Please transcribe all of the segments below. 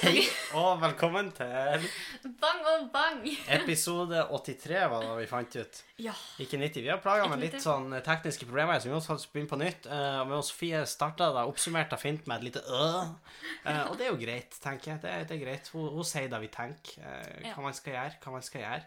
Hei og velkommen til Bang og bang! episode 83, var det vi fant ut. Ja. Ikke 90. Vi har plaga med Ikke litt 90. sånn tekniske problemer, så vi må faktisk begynne på nytt. Eh, Men Sofie starta da, oppsummerte fint med et lite øh. Eh, Og det er jo greit, tenker jeg. Det er, det er greit. Hun, hun sier det vi tenker. eh, Ja. Hva man skal gjøre, hva man skal gjøre.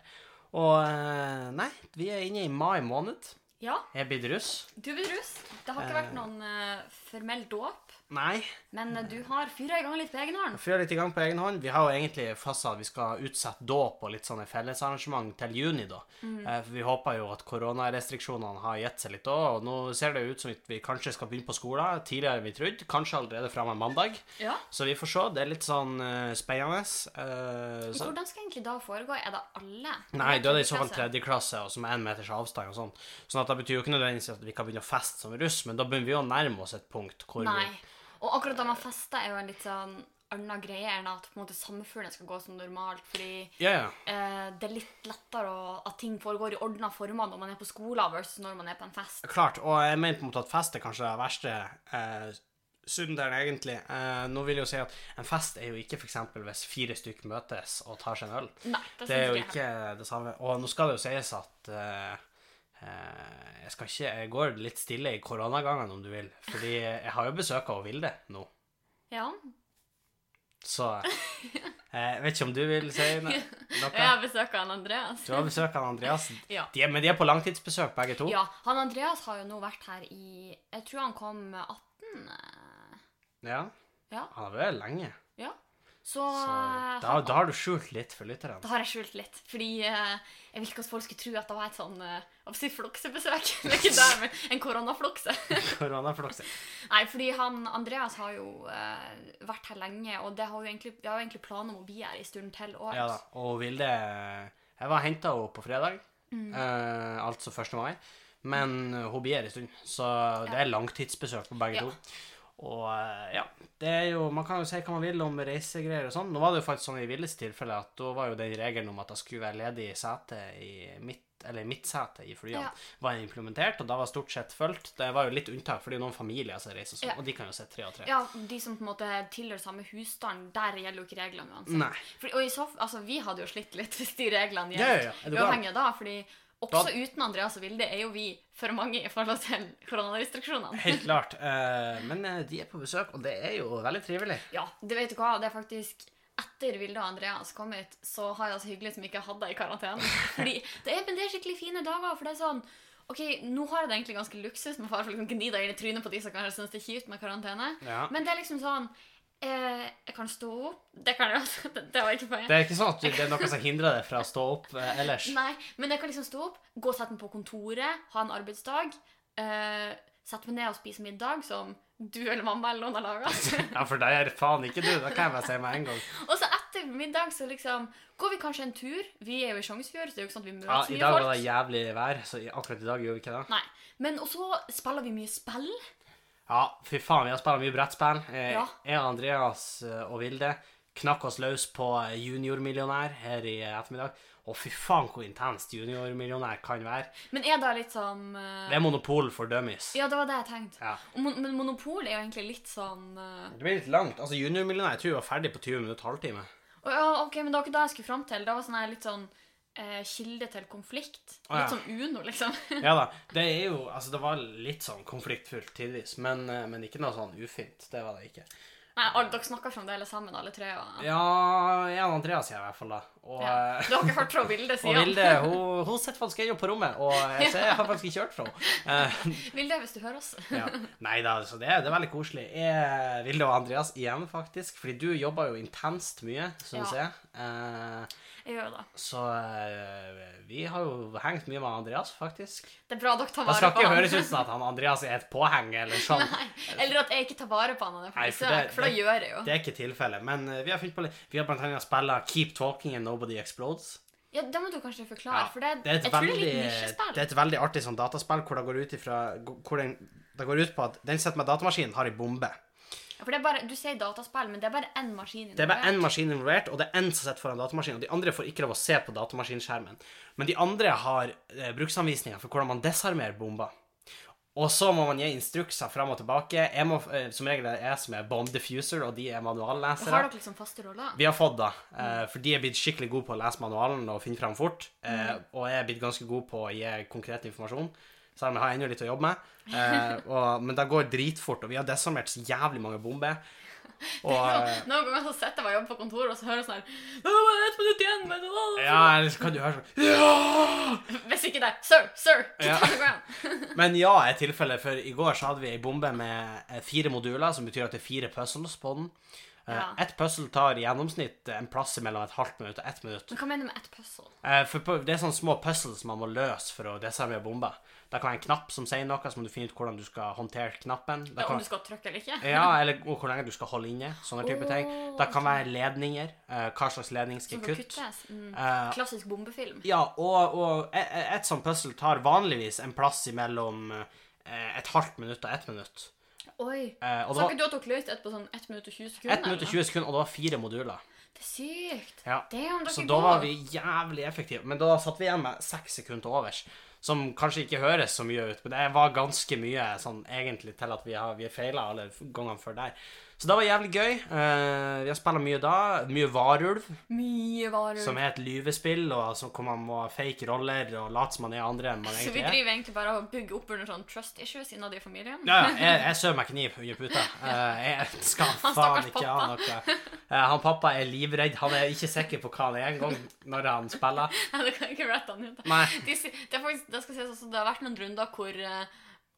Og eh, nei, vi er inne i mai måned. Ja, Jeg er blitt russ. du blir russ. Det har ikke vært noen eh, formell dåp, Nei. men eh, du har fyra i gang litt på egen hånd. Fyre litt i gang på egen hånd. Vi har jo egentlig fastsatt at vi skal utsette dåp og litt sånne fellesarrangement til juni, da. Eh, for Vi håper jo at koronarestriksjonene har gitt seg litt òg, og nå ser det jo ut som at vi kanskje skal begynne på skolen tidligere enn vi trodde. Kanskje allerede fra og med mandag. Ja. Så vi får se. Det er litt sånn eh, spennende. Eh, så, Hvordan skal egentlig da foregå? Er det alle? nei, da er det i så fall Klasse? tredje klasse, og som er én meters avstand og sånn. Sånn at det betyr jo ikke nødvendigvis at vi kan begynne å feste som russ, men da begynner vi jo å nærme oss et punkt hvor Nei. vi Og akkurat da man fester, er jo en litt sånn annen greie enn at på en måte sommerfuglen skal gå som normalt, fordi Ja, ja. eh, det er litt lettere å, at ting foregår i ordna former når man er på skolen versus når man er på en fest. Klart, og jeg mener på en måte at fest er kanskje det verste eh, synderen, egentlig. Eh, nå vil jeg jo si at en fest er jo ikke f.eks. hvis fire stykker møtes og tar seg en øl. Nei, det, Det er jo synes ikke jeg. ikke det samme. Og nå skal det jo sies at eh, eh, jeg skal ikke Jeg går litt stille i koronagangene, om du vil. Fordi jeg har jo besøk av Vilde nå, Ja. så eh, Jeg vet ikke om du vil si no- Og jeg noe? har besøk av han Andreas. Du har besøk av Andreas. Ja. De er, men de er på langtidsbesøk, begge to. Ja, han Andreas har jo nå vært her i Jeg tror han kom 18. eh, Ja. Ja. Han har vært lenge. Ja. Så, Så eh, da, da har du skjult litt for lytterne. da har jeg skjult litt. Fordi eh, jeg vil ikke at folk skulle tro at det var et sånn eh, hva skal jeg si, floksebesøk. det er ikke det, men en koronaflokse. Koronaflokse. Nei, fordi han Andreas har jo eh, vært her lenge, og det har jo egentlig, vi har jo egentlig planer om å bli her en stund til år. Ja da. Og Vilde Jeg var og henta henne på fredag, Mm. eh, altså 1. mai, men hun blir her en stund, så det er langtidsbesøk på begge Ja. to. Og eh, ja, det er jo Man kan jo si hva man vil om reisegreier og sånn. Nå var det jo faktisk sånn i Villes tilfelle at da var jo den regelen om at det skulle være ledig sete i mitt eller midtsete i flyene Ja. var implementert, og da var stort sett fulgt. Det var jo litt unntak, fordi noen familier som reiser sånn, Ja. og de kan jo sitte tre og tre. Ja, De som på en måte tilhører samme husstand, der gjelder jo ikke reglene uansett. Nei. Fordi, og i så, f- altså, vi hadde jo slitt litt hvis de reglene Ja, gjaldt. ja, ja. Er det bra? Uavhengig av da, fordi også Da- uten Andreas og Vilde er jo vi for mange i forhold til koronarestriksjonene. Helt klart. Eh, men eh, de er på besøk, og det er jo veldig trivelig. Ja, det vet du hva, det er faktisk etter Vilde og Andreas kom hit, så har jeg det så hyggelig som jeg ikke hadde det i karantene. Fordi det er, men det er skikkelig fine dager, for det er sånn Ok, nå har jeg det egentlig ganske luksus med fare for å liksom gni deg inn i trynet på de som kanskje syns det er kjipt med karantene, Ja. men det er liksom sånn eh, Jeg kan stå opp. Det kan jeg altså. Det, det var ikke poenget. Det er ikke sånn at det er noe som hindrer deg fra å stå opp eh, ellers. Nei, men jeg kan liksom stå opp, gå og sette meg på kontoret, ha en arbeidsdag, eh, sette meg ned og spise middag som du eller mamma eller noen har laga. Ja, for det er faen ikke du. Det kan jeg bare si med en gang. og så etter middag så liksom går vi kanskje en tur. Vi er jo i Sjongsfjord, så det er jo ikke sånn at vi Ja, møter så I mye dag var det folk. jævlig vær, så i- akkurat i dag gjorde vi ikke det. Nei. Men og så spiller vi mye spill. Ja, fy faen, vi har spilt mye brettspill. Eh, Ja. Jeg, Andreas eh, og Vilde knakk oss løs på eh, juniormillionær her i ettermiddag. Å, fy faen, hvor intenst juniormillionær kan være. Men er det litt som eh, Det er monopol for dummies. Ja, det var det jeg tenkte. Ja. Og mon men monopol er jo egentlig litt sånn eh, Det blir litt langt. Altså, Juniormillionær jeg tror jeg var ferdig på 20 minutter, halvtime. å, Ja, OK, men det var ikke det jeg skulle fram til. Det var sånn her litt sånn eh, kilde til konflikt. Å, ja. Litt sånn Uno, liksom. Ja da. Det er jo Altså, det var litt sånn konfliktfullt tidvis, men, eh, men ikke noe sånn ufint. Det var det ikke. Nei, alle, dere snakker fremdeles sammen, alle tre. Og... Ja, jeg og Andreas gjør i hvert fall det. Og, Ja. eh, Du har ikke hørt fra Vilde og siden. Vilde hun, hun sitter faktisk ennå på rommet, og jeg, ser, jeg har faktisk ikke hørt fra henne. Eh, Vilde, hvis du hører oss. ja. Nei da, så det, er- det er veldig koselig. Jeg, Vilde og Andreas igjen, faktisk. Fordi du jobber jo intenst mye, syns Ja. jeg. Eh, Jeg gjør det. så eh, vi har jo hengt mye med Andreas, faktisk. Det er bra dere tar Det vare skal på ikke han. høres ut som at han Andreas er et påheng eller sånn. Nei, Eller at jeg ikke tar vare på han når jeg er på Nei, for besøk, det- for det det- gjør jeg jo. Det er ikke tilfellet. Men eh, vi har funnet på litt Vi har blant annet spillet Keep Talking and Nobody Explodes. Ja, Det må du kanskje forklare, Ja, for det, Det er et, jeg tror det er veldig, litt det nisjespill. er et veldig artig sånn dataspill hvor det går ut ifra hvor den, Det går ut på at den sitter med datamaskinen, har ei bombe. For det er bare, Du sier dataspill, men det er bare én maskin. Det er bare involvert. én maskin involvert, og det er én som sitter foran datamaskinen. Og de andre får ikke lov å se på datamaskinskjermen. Men de andre har eh, bruksanvisninger for hvordan man desarmerer bomber. Og så må man gi instrukser fram og tilbake. Jeg må, eh, som regel er det jeg som er bomb diffuser, og de er Har manuallesere. dere liksom faste roller? Vi har fått det, eh, for de er blitt skikkelig gode på å lese manualen og finne fram fort. eh, Og jeg er blitt ganske god på å gi konkret informasjon, selv om jeg har ennå litt å jobbe med. Eh, og, men det går dritfort, og vi har desarmert så jævlig mange bomber. Og, eh, Noen ganger så sitter jeg bare og jobber på kontoret, og så hører jeg sånn her Nå var det ett minutt igjen, men ja, eller så kan du høre sånn Ja! Hvis ikke det er Sir, sir, get Ja. on the ground. Men ja er tilfellet, for i går så hadde vi ei bombe med eh, fire moduler, som betyr at det er fire puzzles på den. Eh, Ja. Ett puzzle tar i gjennomsnitt en plass mellom et halvt minutt og ett minutt. Men hva mener du med ett puzzle? Eh, For på- det er sånne små puzzles man må løse for å desarmere bomber. Det kan være en knapp som sier noe, så må du finne ut hvordan du skal håndtere knappen. Det Om kan, du skal trykke eller ikke? ja, eller hvor lenge du skal holde inne. Sånne type ting. Åh, Det kan være ledninger. eh, Hva slags ledning skal Som skal kutte. kuttes? Mm. Eh, Klassisk bombefilm. ja, og, og et, et sånt puzzle tar vanligvis en plass imellom eh, et halvt minutt og ett minutt. Oi. Eh, og det Sa var ikke du at dere løste ett på sånn 1 minutt og 20 sekunder? 1 minutt og 20 sekunder, og det var fire moduler. eller? Det er sykt. Ja. Det er om dere Så er da gode. var vi jævlig effektive. Men da satt vi igjen med seks sekunder til overs. Som kanskje ikke høres så mye ut, men det var ganske mye sånn egentlig til at vi har, vi har feila alle gangene før der. Så det var jævlig gøy. Eh, vi har spilla mye da. Mye Varulv, Mye varer. som er et lyvespill, og så hvor man må fake roller og late som man er andre enn man Så vi egentlig er. driver egentlig bare og bygger opp under sånn trust issues innad i familien. Ja, ja, jeg, jeg søver meg kniv under puta. Eh, jeg skal Han faen stakkars ikke ha noe. Eh, han pappa er livredd. Han er ikke sikker på hva han er engang når han spiller. Nei, det kan jeg ikke rette han ut. Nei. De, si- det, er faktisk, det, skal sies også, det har vært noen runder hvor eh,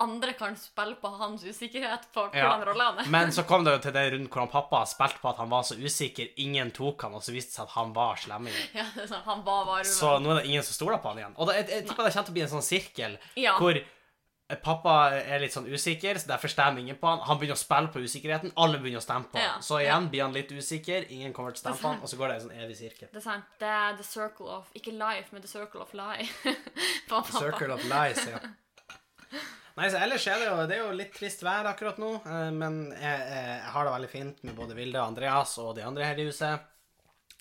andre kan spille på hans usikkerhet på hvordan Ja. rolle han er. Men så kom det jo til den runden hvor han pappa spilte på at han var så usikker. Ingen tok han, og så viste det seg at han var slemmingen. Ja, det er sånn, han var varulven. Så nå er det ingen som stoler på han igjen. Og det, jeg, jeg tipper det kommer til å bli en sånn sirkel Ja. hvor eh, Pappa er litt sånn usikker, så derfor stemmer ingen på han. Han begynner å spille på usikkerheten, alle begynner å stemme på han. Ja. Så igjen blir han litt usikker, ingen kommer til å stemme på han, og så går det en sånn evig sirkel. Det er sant. Det er the circle of Ikke life, men the circle of lie. på pappa. Circle of lies, ja. Nei, så ellers er det jo, det er jo litt trist vær akkurat nå, eh, men jeg, jeg har det veldig fint med både Vilde og Andreas og de andre her i huset.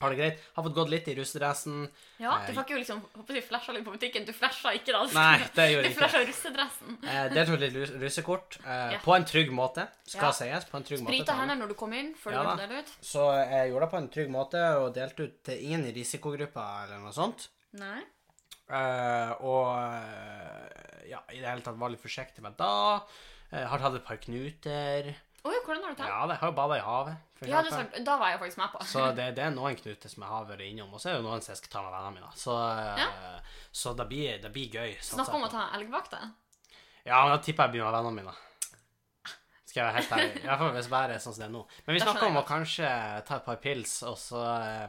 Har det greit. Har fått gått litt i russedressen. Ja, Eh, du fikk jo liksom håper jeg, flasha litt på butikken. Du flasha ikke, da. Nei, det gjorde jeg Du ikke. flasha russedressen. Eh, Deltok litt rus- russekort. eh, Ja. På en trygg måte, skal Ja. sies. På en trygg måte. Sprita til alle. hendene når du kom inn, før Ja, du da. begynte å dele ut. Så eh, jeg gjorde det på en trygg måte, og delte ut til ingen i risikogruppa eller noe sånt. Nei. Eh, og eh, ja, i det hele tatt var litt forsiktig med da. Eh, har tatt et par knuter. Oi, hvordan har du tatt? Ja, det har jo bada i havet. for Ja, det er eksempel. sant. Da var jeg faktisk med på. Så det, det er noen knuter som jeg har vært innom, og så er det noen som jeg skal ta med vennene mine. Så, eh, så det, blir, det blir gøy. satser Snakk om sånn jeg å ta elgvakter. på. Ja, men da tipper jeg blir med vennene mine. Skal jeg være helt ærlig. I hvert fall hvis været er sånn som det er nå. Men vi Da snakker skjønner om jeg å kanskje ta et par pils, og så eh,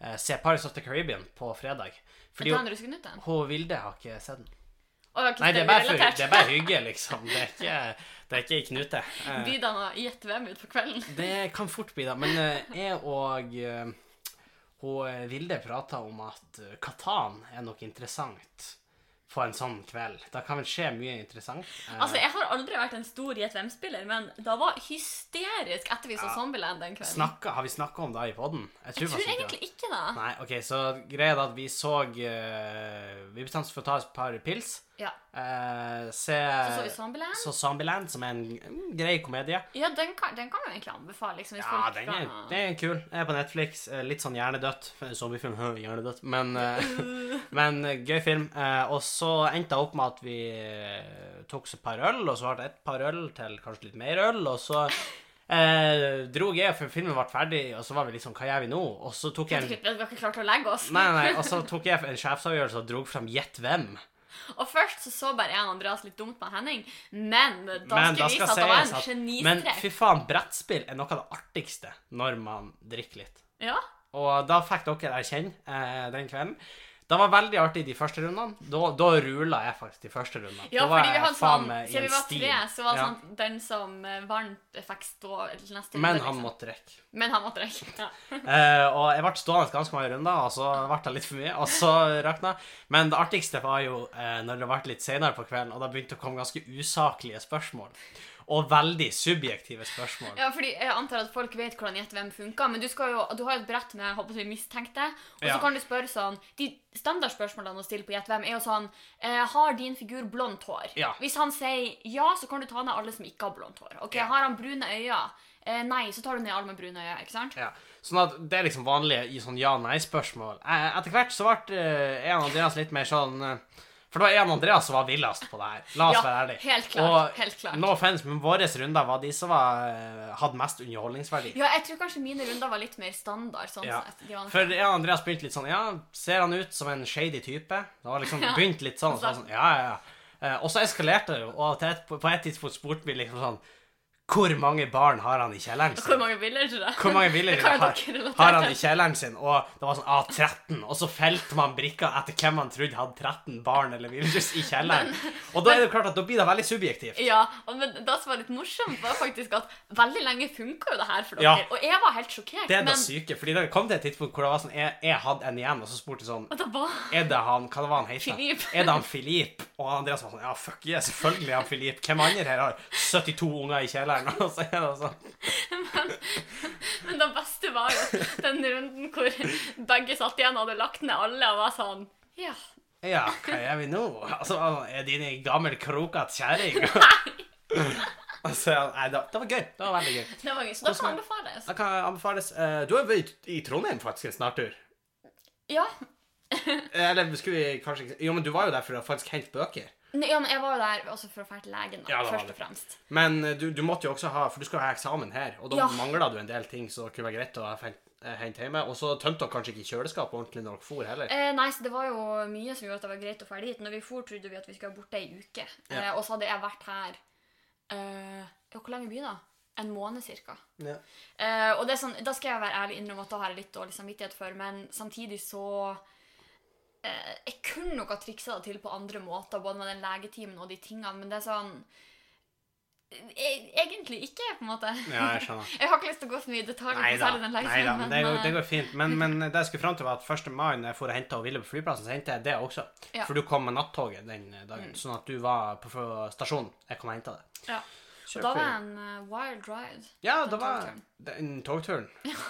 eh, se Paris of the Caribbean på fredag. Fordi Fordi ta hun, en ruskenytte. hun Vilde har ikke sett den. Og ikke Nei, det er bare, for, relatert. det er bare hygge, liksom. Det er ikke, det er ikke ei knute. Eh, Bydene har gitt VM ut for kvelden. Det kan fort bli det. Men eh, jeg og eh, hun eh, Vilde prata om at eh, Katan er noe interessant på en sånn kveld. Da kan vel skje mye interessant. Eh, Altså, Jeg har aldri vært en stor Gjett hvem-spiller, men det var hysterisk etter vi så Zombieland den kvelden. snakka, har vi snakka om det i poden? Jeg Jeg tror, tror faktisk ikke det. egentlig ikke det. Nei, OK, så greia er at vi så eh, Vi bestemte oss for å ta et par pils. Ja. eh, se Så så vi Zombieland. så Zombieland, som er en mm, grei komedie. Ja, den kan, den kan man egentlig anbefale. liksom, hvis Ja, folk den er, skal- den er kul. Den er på Netflix. eh, Litt sånn hjernedødt. Zombiefilm, hø, hjernedødt. Men, eh, men eh, gøy film. Eh, Og så endte jeg opp med at vi eh, tok oss et par øl, og så ble det et par øl til kanskje litt mer øl, og så eh, dro jeg, for filmen ble ferdig, og så var vi liksom Hva gjør vi nå? Og så tok jeg Vi en har ikke klart å legge oss. Nei, nei, og så tok jeg en sjefsavgjørelse og dro fram Gjett hvem. Og først så, så bare jeg og Andreas litt dumt med Henning, men da skulle Men da vi skal vise at det var sies en at Men genistrek. fy faen, brettspill er noe av det artigste når man drikker litt. Ja, Og eh, da fikk dere erkjenne eh, den kvelden. Det var veldig artig de første rundene. Da, da rula jeg faktisk de første rundene. ja da var fordi vi jeg hadde faen sånn meg i Siden vi en var stil. tre, så var det Ja. sånn den som eh, vant, fikk stå til neste Men runde, han liksom. måtte drikke. Men han måtte drikke. Ja. Eh, og jeg ble stående ganske mange runder, og så ble det litt for mye, og så rakna jeg. Men det artigste var jo eh, når det ble litt senere på kvelden, og det begynte å komme ganske usaklige spørsmål. og veldig subjektive spørsmål. Ja, fordi jeg antar at folk vet hvordan gjett hvem funker, men du, skal jo, du har jo et brett med jeg håper å si, mistenkte, og Ja. så kan du spørre sånn De standardspørsmålene å stille på gjett hvem er jo sånn eh, Har din figur blondt hår? Ja. Hvis han sier ja, så kan du ta ned alle som ikke har blondt hår. Ok, Ja. Har han brune øyne? Eh, nei, så tar du ned alle med brune øyne. ikke sant? Ja. Sånn at det er liksom vanlige i sånn ja-nei-spørsmål. Eh, Etter hvert så ble eh, en Andreas litt mer sånn eh, For det var en Andreas som var villest på det her. La oss Ja, være ærlige. helt klart, Og helt klart. no offense, men våre runder var de som var, eh, hadde mest underholdningsverdi. Ja, jeg tror kanskje mine runder var litt mer standard. sånn Ja. sett. De var- For en Andreas begynte litt sånn Ja, ser han ut som en shady type? Det var liksom begynt litt sånn. Og så, var det sånn ja, ja, ja. Eh, Og så eskalerte det jo, og til et, på et tidspunkt spurte vi liksom sånn Hvor mange barn har han i kjelleren? sin?» Hvor mange bilder tror jeg? Hvor mange Det villere kan jo har, dere relatere har han til. i kjelleren sin? Og det var sånn ah, 13, og så felte man brikka etter hvem man trodde hadde 13 barn eller villus i kjelleren. og da er det jo klart at da blir det veldig subjektivt. Ja, og men det som var litt morsomt, var faktisk at veldig lenge funka jo det her for dere. Ja. Og jeg var helt sjokkert. Det er det men syke, fordi det kom til et tidspunkt hvor det var sånn Jeg, jeg hadde en igjen, og så spurte jeg sånn at det var Er det han Hva det var han het? Philip. Er det han Filip? Og Andreas var sånn Ja, fuck yeah, selvfølgelig er han Filip. Hvem andre her har 72 unger i kjelleren? Og så er det sånn Men det beste var jo den runden hvor begge satt igjen og hadde lagt ned alle og var sånn Ja. Ja, hva gjør vi nå? Altså, er din ei gammel, krokete kjerring? Altså, nei, det, det var gøy. Det var veldig gøy. Det var gøy. Så da Hvordan kan er- anbefales. Da kan jeg anbefales. eh, Du er vært i Trondheim faktisk en snartur. Ja. Eller skulle vi kanskje ikke Jo, men du var jo der for å faktisk hente bøker. Nei, ja, men jeg var jo der også for å dra til legen, da, Ja, det var først det. og fremst. Men eh, du, du måtte jo også ha For du skulle ha eksamen her, og da Ja. mangla du en del ting som kunne være greit å ha fen- eh, hente hjemme. Og så tømte dere kanskje ikke kjøleskapet ordentlig når dere for heller. Eh, nei, så Det var jo mye som gjorde at det var greit å dra dit. Når vi for, trodde vi at vi skulle være borte ei uke. Ja. Eh, og så hadde jeg vært her eh, ja, Hvor lenge blir det? En måned cirka. Ja. Eh, og det er sånn, Da skal jeg være ærlig innrømme at da har jeg litt dårlig samvittighet for, men samtidig så eh, Jeg kunne nok ha triksa det til på andre måter, både med den legetimen og de tingene, men det er sånn e- Egentlig ikke, på en måte. ja, jeg skjønner. Jeg har ikke lyst til å gå så mye i detalj på Nei da. særlig den legetimen. Men det, går- det eh, går fint. Men, men det jeg skulle fram til, var at 1. mai, når jeg for å hente og ville på flyplassen, så hentet jeg det også. Ja. Mm. For du kom med nattoget den dagen, sånn at du var på fra stasjonen. Jeg kom og henta det. eh, ja. Og Da var det en eh, wild ride. Ja, Den det var togturen. den togturen.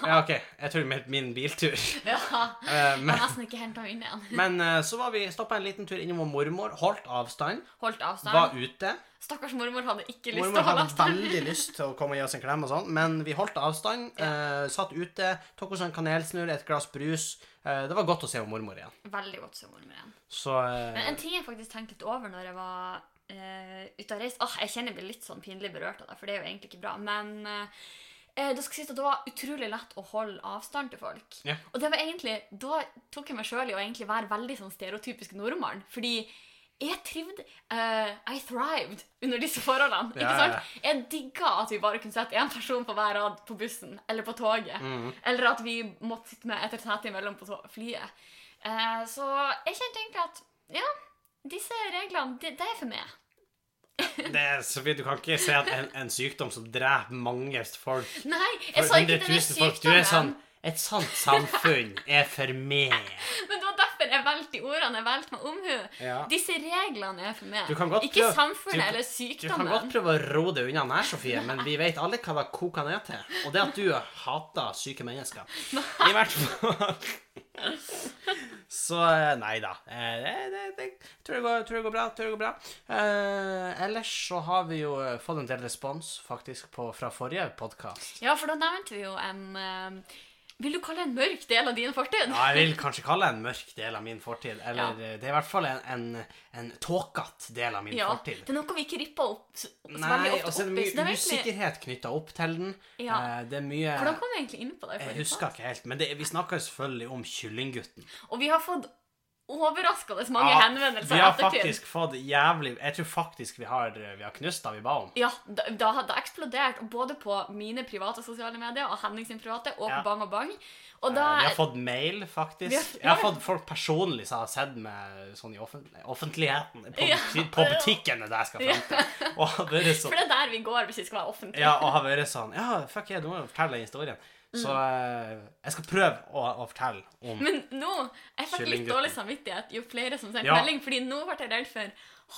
Ja, OK. Jeg tror min, min biltur. Ja, Jeg Eh, men har nesten ikke henta meg inn igjen. men eh, så var vi stoppa en liten tur innom mormor, holdt avstand, Holdt avstand. var ute. Stakkars mormor hadde ikke lyst til Mormor å holde hadde avstand. veldig lyst til å komme og gi oss en klem, og sånn, men vi holdt avstand. eh, satt ute, tok oss en kanelsnurr, et glass brus. Eh, det var godt å se mormor igjen. Veldig godt som mormor igjen. Så eh, Men en ting jeg faktisk tenkte litt over når jeg var eh, ute og reiste Åh, Jeg kjenner jeg blir litt sånn pinlig berørt av det, for det er jo egentlig ikke bra. Men eh, eh, det skal sies at det var utrolig lett å holde avstand til folk. Ja. Og det var egentlig, da tok jeg meg sjøl i å egentlig være veldig sånn stereotypisk nordmann. fordi jeg trivde eh, I thrived under disse forholdene. Ja, ikke ja, sant? Jeg digga at vi bare kunne sette én person på hver rad på bussen eller på toget. Mm. Eller at vi måtte sitte med et sete imellom på to- flyet. Eh, så jeg kjente egentlig at ja, disse reglene, det, det er for meg. det er så vidt, du kan ikke si at en, en sykdom som dreper mange folk Nei, jeg for sa ikke at det 100 er 000 folk Du er sånn sykdommen. Et sånt samfunn er for meg. Men det var derfor jeg valgte de ordene. Jeg valgte meg omhu. Ja. Disse reglene er for meg. Du kan godt ikke prøve- samfunnet du kan- eller Du kan godt sykdommen. prøve å ro det unna den her, Sofie, men vi vet alle hva det koker ned til. Og det at du hater syke mennesker. I hvert fall. Så eh, nei da. Eh, Det, det, det, jeg tror, det går, tror det går bra. Tror det går bra. Eh, ellers så har vi jo eh, fått en del respons faktisk på, fra forrige podkast. Ja, for da nevnte vi jo en eh, Vil du kalle det en mørk del av din fortid? Ja, jeg vil kanskje kalle det en mørk del av min fortid. Eller eh, det er i hvert fall en, en, en tåkete del av min Ja, fortid. Det er noe vi ikke ripper opp så, så veldig Nei, ofte opp og så er det i, så det mye er egentlig- usikkerhet knytta opp til den. Ja. Eh, Det er mye Hvordan kom vi egentlig inn på det? Jeg forrige husker ikke helt, men det, vi snakka selvfølgelig om Kyllinggutten. gang? Og vi har fått overraskende mange henvendelser vi har ettertid. faktisk fått jævlig Jeg tror faktisk vi har, vi har knust det vi ba om. Ja, da- det har det har eksplodert både på mine private sosiale medier og Henning sin private, og på Ja. Bang og Bang. Og da Eh, Vi har fått mail, faktisk. Vi har- Jeg har fått folk personlig som har sett meg sånn i offent- offentligheten. På, Ja. buti- på butikken er det jeg skal fram til. Og har vært For sånn, det er der vi går hvis vi skal være offentlige. ja, og har vært sånn Ja, fuck yeah, du må jo fortelle den historien. Så eh, jeg skal prøve å, å fortelle om Men nå jeg fikk litt Kyllinggutten. dårlig samvittighet jo flere som sendte Ja. melding, fordi nå ble jeg redd for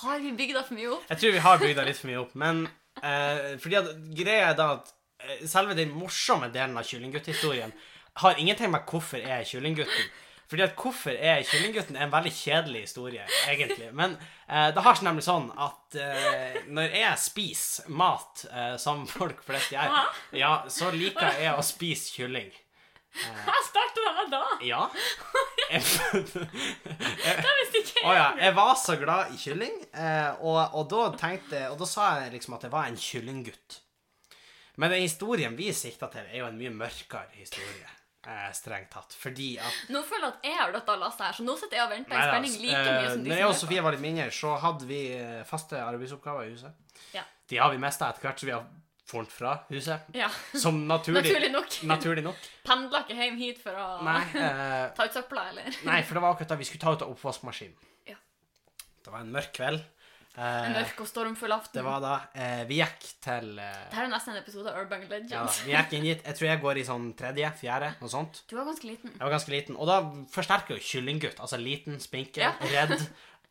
Har vi bygd det for mye opp? Jeg tror vi har bygd det litt for mye opp, men Eh, fordi at greia er da at eh, selve den morsomme delen av Kyllinggutt-historien har ingenting med hvorfor er Kyllinggutten. Fordi at hvorfor er Kyllinggutten er en veldig kjedelig historie, egentlig. Men eh, det har seg nemlig sånn at eh, når jeg spiser mat eh, som folk flest gjør, ja, så liker jeg å spise kylling. Jeg starta denne da! Ja. Jeg- Det visste ikke Å ja. Jeg var så glad i kylling, eh, og, og, da tenkte, og da sa jeg liksom at jeg var en kyllinggutt. Men den historien vi sikta til, er jo en mye mørkere historie, eh, strengt tatt. Fordi at Nå føler jeg at jeg har dødd av lasset her, så nå sitter jeg og venter i Nei, spenning altså, like mye som eh, de Når jeg og som Sofie var litt mindre, så hadde vi eh, faste arbeidsoppgaver i huset. Ja. De har vi mista etter hvert som vi har funnet fra huset. Ja, Som naturlig, naturlig nok. naturlig nok. Pendla ikke hjem hit for å Nei, eh, ta ut søpla, eller? nei, for det var akkurat da vi skulle ta ut av oppvaskmaskinen. Ja. Det var en mørk kveld. En Eh, mørk og stormfull aften. Det var da eh, Vi gikk til eh, Dette er jo nesten en episode av Urban Legends. ja, da, Vi gikk inn hit. Jeg tror jeg går i sånn tredje, fjerde, noe sånt. Du var ganske liten. Jeg var ganske liten. Og da forsterker jo kyllinggutt. Altså liten, spinkel, Ja. redd.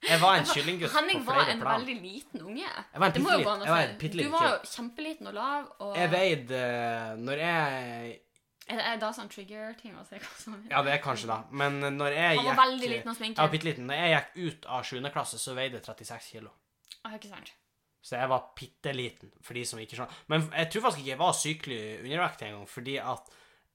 Jeg var en kyllinggutt Henning på var flere en plan. veldig liten unge. Jeg var en Det må jo bitteliten- gå an å jeg var en si. bitteliten Du var jo kjempeliten og lav, og Jeg veide eh, Når jeg Er det er da sånn trigger-ting å si hva som Ja, det er kanskje da. Men når jeg Han var veldig liten og Jeg var sminket. bitte liten. Når jeg gikk ut av 7. klasse, så veide jeg 36 kilo. Ah, ikke sant. Så jeg var bitte liten, for de som ikke skjønner. Men jeg tror faktisk ikke jeg var sykelig undervektig engang, fordi at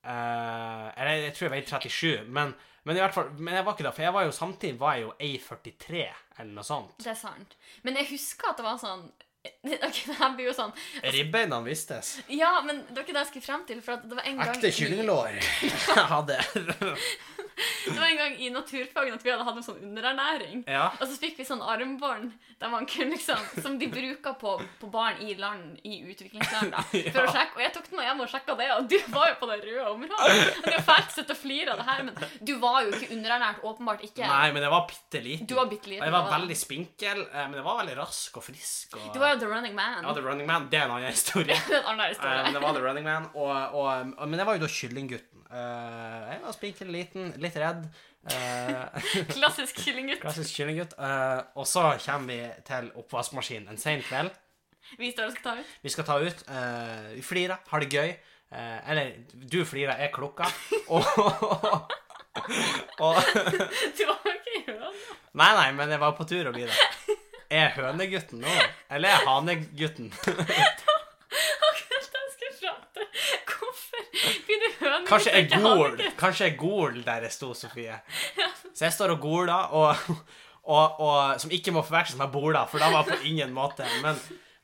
eh, Eller jeg tror jeg veide 37, men, men i hvert fall Men jeg var ikke det, for jeg var jo samtidig var jeg jo A43, eller noe sånt. Det er sant. Men jeg husker at det var sånn Ok, det her blir jo sånn Altså, Ribbeina vistes. Ja, men det var ikke det jeg skulle frem til. For at det var en gang i- Jeg hadde Det var en gang i naturfagen at vi hadde hatt en sånn underernæring. Ja. Og så fikk vi sånn armbånd der man kunne liksom, som de bruker på, på barn i land i utviklingsland. da, for å sjekke, Og jeg tok den med hjem og sjekka det, og du var jo på det røde området. Og det er jo fælt å sitte og flire av det her, men du var jo ikke underernært. Åpenbart ikke. Nei, men jeg var bitte liten. Du var bitte liten. Og jeg var veldig spinkel, eh, men jeg var veldig rask og frisk. Og... Du var jo the running man. Jeg hadde Running Man. Det er en annen historie. Det er en annen Eh, Men det historie. var The Running Man. Og, og, og, men jeg var jo da kyllinggutten. Eh, jeg var spinkel, liten, litt redd. Eh, Klassisk kyllinggutt. klassisk kyllinggutt. Eh, og så kommer vi til oppvaskmaskinen en sen kveld. Vi står og skal ta ut. Vi skal ta ut. eh, vi flirer, har det gøy. Eh, eller du flirer, jeg klukker. Og, og Du var jo ikke i høna. Nei, nei, men jeg var på tur å bli det. Er jeg hønegutten nå? Eller er jeg hanegutten? Akkurat da jeg skulle prate. Hvorfor blir du høne? Kanskje jeg Ikke gol hane. Kanskje jeg gol der jeg sto, Sofie. Så jeg står og goler, og, og, og, som ikke må forveksles med bola, for da var jeg på ingen måte. Men,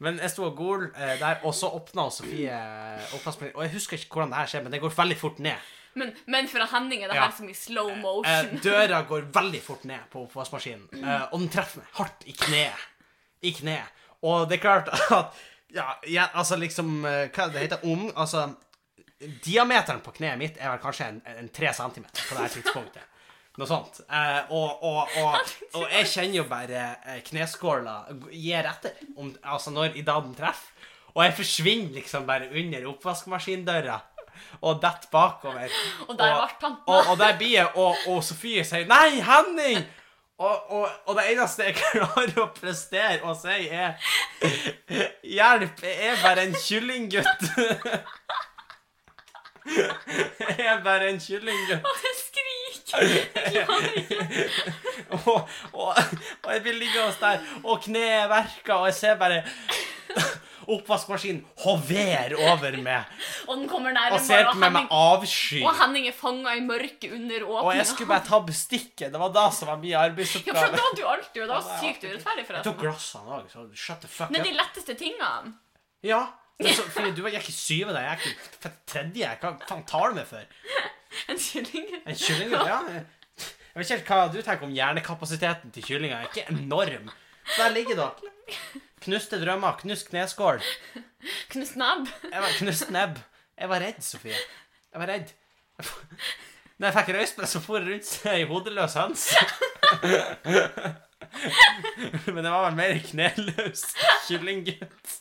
men jeg sto og gol eh, der, og så åpna Sofie eh, oppvaskmaskinen. Og jeg husker ikke hvordan det her skjer, men det går veldig fort ned. Men, men for Henning er det Ja. her som i slow Eh, motion. døra går veldig fort ned på oppvaskmaskinen, eh, og den treffer meg hardt i kneet. I kneet. Og det er klart at Ja, ja altså liksom eh, Hva det heter det? Om Altså Diameteren på kneet mitt er vel kanskje en, en tre centimeter på det her tidspunktet. Noe sånt. Eh, og, og, og, og jeg kjenner jo bare eh, kneskåla gir etter om, altså når i dag den treffer. Og jeg forsvinner liksom bare under oppvaskmaskindøra og detter bakover. Og der ble han. Og, og der blir jeg, og, og Sofie sier 'Nei, Henning!' Og, og, og det eneste jeg klarer å prestere å si, er 'Hjelp, jeg er bare en kyllinggutt'. Jeg er bare en kyllinggutt. Og jeg skriker. Jeg klarer ikke. Og, og, og jeg blir liggende der, og kneet er verka, og jeg ser bare oppvaskmaskinen hover over meg Og den kommer nærmere, og ser på meg Henning, med avsky. og Henning er fanga i mørket under åpninga. Og jeg skulle bare ta bestikket. Det var da som var min ja, for arbeidsoppgave. da hadde du alltid, og det var Ja, sykt urettferdig, Jeg tok forresten. glassene òg, så shut the fuck Men up. de letteste tingene Ja. Men så, fordi du gikk i syvende, jeg gikk i f- tredje. Hva faen tar du meg for? En kylling. En kylling? Ja. Jeg vet ikke helt hva du tenker om hjernekapasiteten til kyllinger. er ikke enorm. Så der ligger dere. Knuste drømmer, knust kneskål. Knust nebb. Jeg var knust nebb. Jeg var redd, Sofie. Jeg var redd. Når jeg fikk røyst meg, så for jeg rundt som ei hodeløs høns. Men jeg var vel mer kneløs kyllinggutt.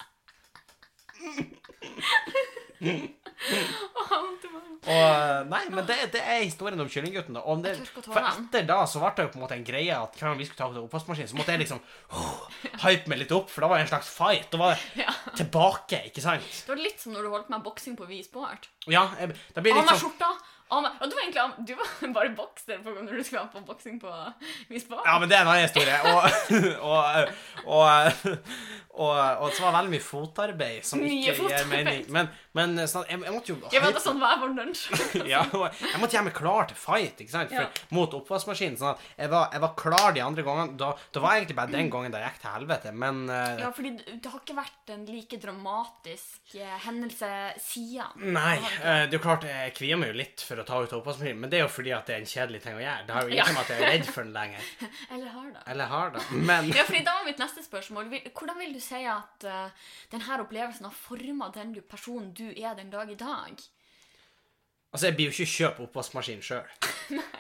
Å, vondt i magen. Og, eh, nei, men det, det er historien om Kyllinggutten. da. Og om det, Jeg tørker for tårene. etter da så ble det jo på en måte en greie at hver gang vi skulle ta opp oppvaskmaskinen, så måtte jeg liksom oh, hype meg litt opp, for da var det en slags fight. Da var det Ja. tilbake, ikke sant? Det var litt som når du holdt på med boksing på V-sport. Ja, jeg, det blir Av litt meg sånn skjorta! Av meg Og du var egentlig av, du var bare bokser på når du skulle være på boksing på V-sport. Ja, men det er en annen historie. Og, og, og, og, og så var det veldig mye fotarbeid som Mye ikke gir fotarbeid. mening. Men, men sånn, jeg, jeg måtte jo Jeg vet hype- det sånn hver vår lunsj. ja, og jeg måtte gjøre meg klar til fight ikke sant? For, Ja. mot oppvaskmaskinen. Sånn at jeg var, jeg var klar de andre gangene. Da, da var jeg egentlig bare den gangen det gikk til helvete. Men eh, Ja, fordi det det har ikke vært en like dramatisk eh, hendelse siden. Nei. eh, det er jo klart, jeg kvier meg jo litt for å ta ut oppvaskmaskinen, men det er jo fordi at det er en kjedelig ting å gjøre. Det har jo Ja. ikke med at jeg er redd for den lenger. Eller har det. Eller har det. Men Ja, fordi da var mitt neste spørsmål. Vil- Hvordan vil du si at eh, denne opplevelsen har forma den du- personen du er den dag i dag? altså, jeg blir jo ikke kjøpe oppvaskmaskin sjøl.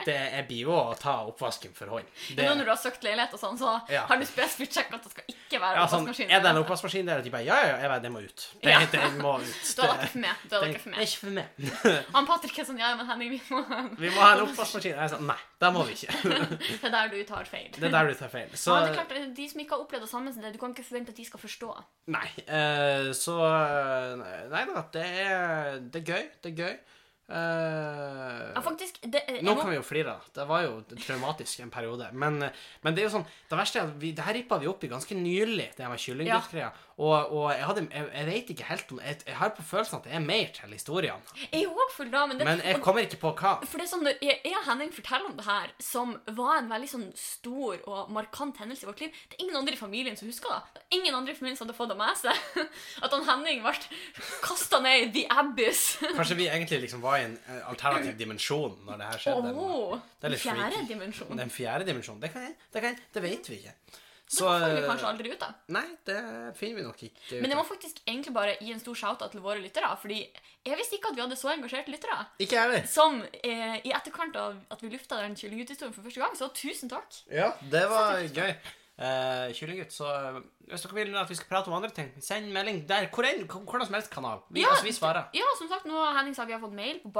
Jeg blir jo å ta oppvasken for hånd. Det, Nå når du har søkt leilighet og sånn, så Ja. har du spesifikt sjekka at det skal ikke være ja, sånn, oppvaskmaskin. er det en oppvaskmaskin der? Og de bare Ja, ja, ja, jeg bare, den må ut. Den, Ja. den må ut. Da er det ikke for meg. Da er det den, ikke for den er meg. ikke for meg. Han Patrick er sånn Ja, men Henning, vi må Vi må ha en oppvaskmaskin. Jeg sa nei, det må vi ikke. Det er der du tar feil. Det er der du tar feil. Så ja, det er klart, eh, De som ikke har opplevd det samme som det, du kan ikke forvente at de skal forstå. nei. eh, så eh, Nei da, det er, det er gøy. Det er gøy. Eh, Ja, faktisk, det, jeg nå må- kan vi jo flire. da. Det var jo traumatisk en periode. Men, men det er jo sånn Det verste er at vi, det her rippa vi opp i ganske nylig, det her med kyllinggreia. Og, og jeg, hadde, jeg, jeg vet ikke helt om jeg, jeg har på følelsen at det er mer til historien. Jeg er også full da, men det, Men jeg kommer ikke på hva. For det er sånn, når jeg jeg og Henning forteller om det her, som var en veldig sånn stor og markant hendelse i vårt liv Det er ingen andre i familien som husker det. det er ingen andre i familien som hadde fått det med seg. At han Henning ble kasta ned i The Abyss. Kanskje vi egentlig liksom var i en eh, alternativ dimensjon når det her skjedde. Oh, Det er litt fjerde freaky. dimensjon. Den fjerde dimensjonen. Det kan jeg. Det, kan jeg. det vet vi ikke. Det Så eh, får vi kanskje aldri ut av. Nei, det finner vi nok ikke Men ut jeg må av. faktisk egentlig bare gi en stor shout-out til våre lyttere. Fordi jeg visste ikke at vi hadde så engasjerte lyttere. Ikke jeg heller. Som eh, i etterkant av at vi lufta den kyllinguthistorien for første gang, så tusen takk. Ja, det var gøy. Uh, Kyllinggutt, så eh, hvis dere vil at vi skal prate om andre ting, send melding der. Hvor enn, hvor- hvordan som helst kanal. Vi, Ja, altså, vi svarer. Ja, som sagt, nå har Henning sa vi har fått mail på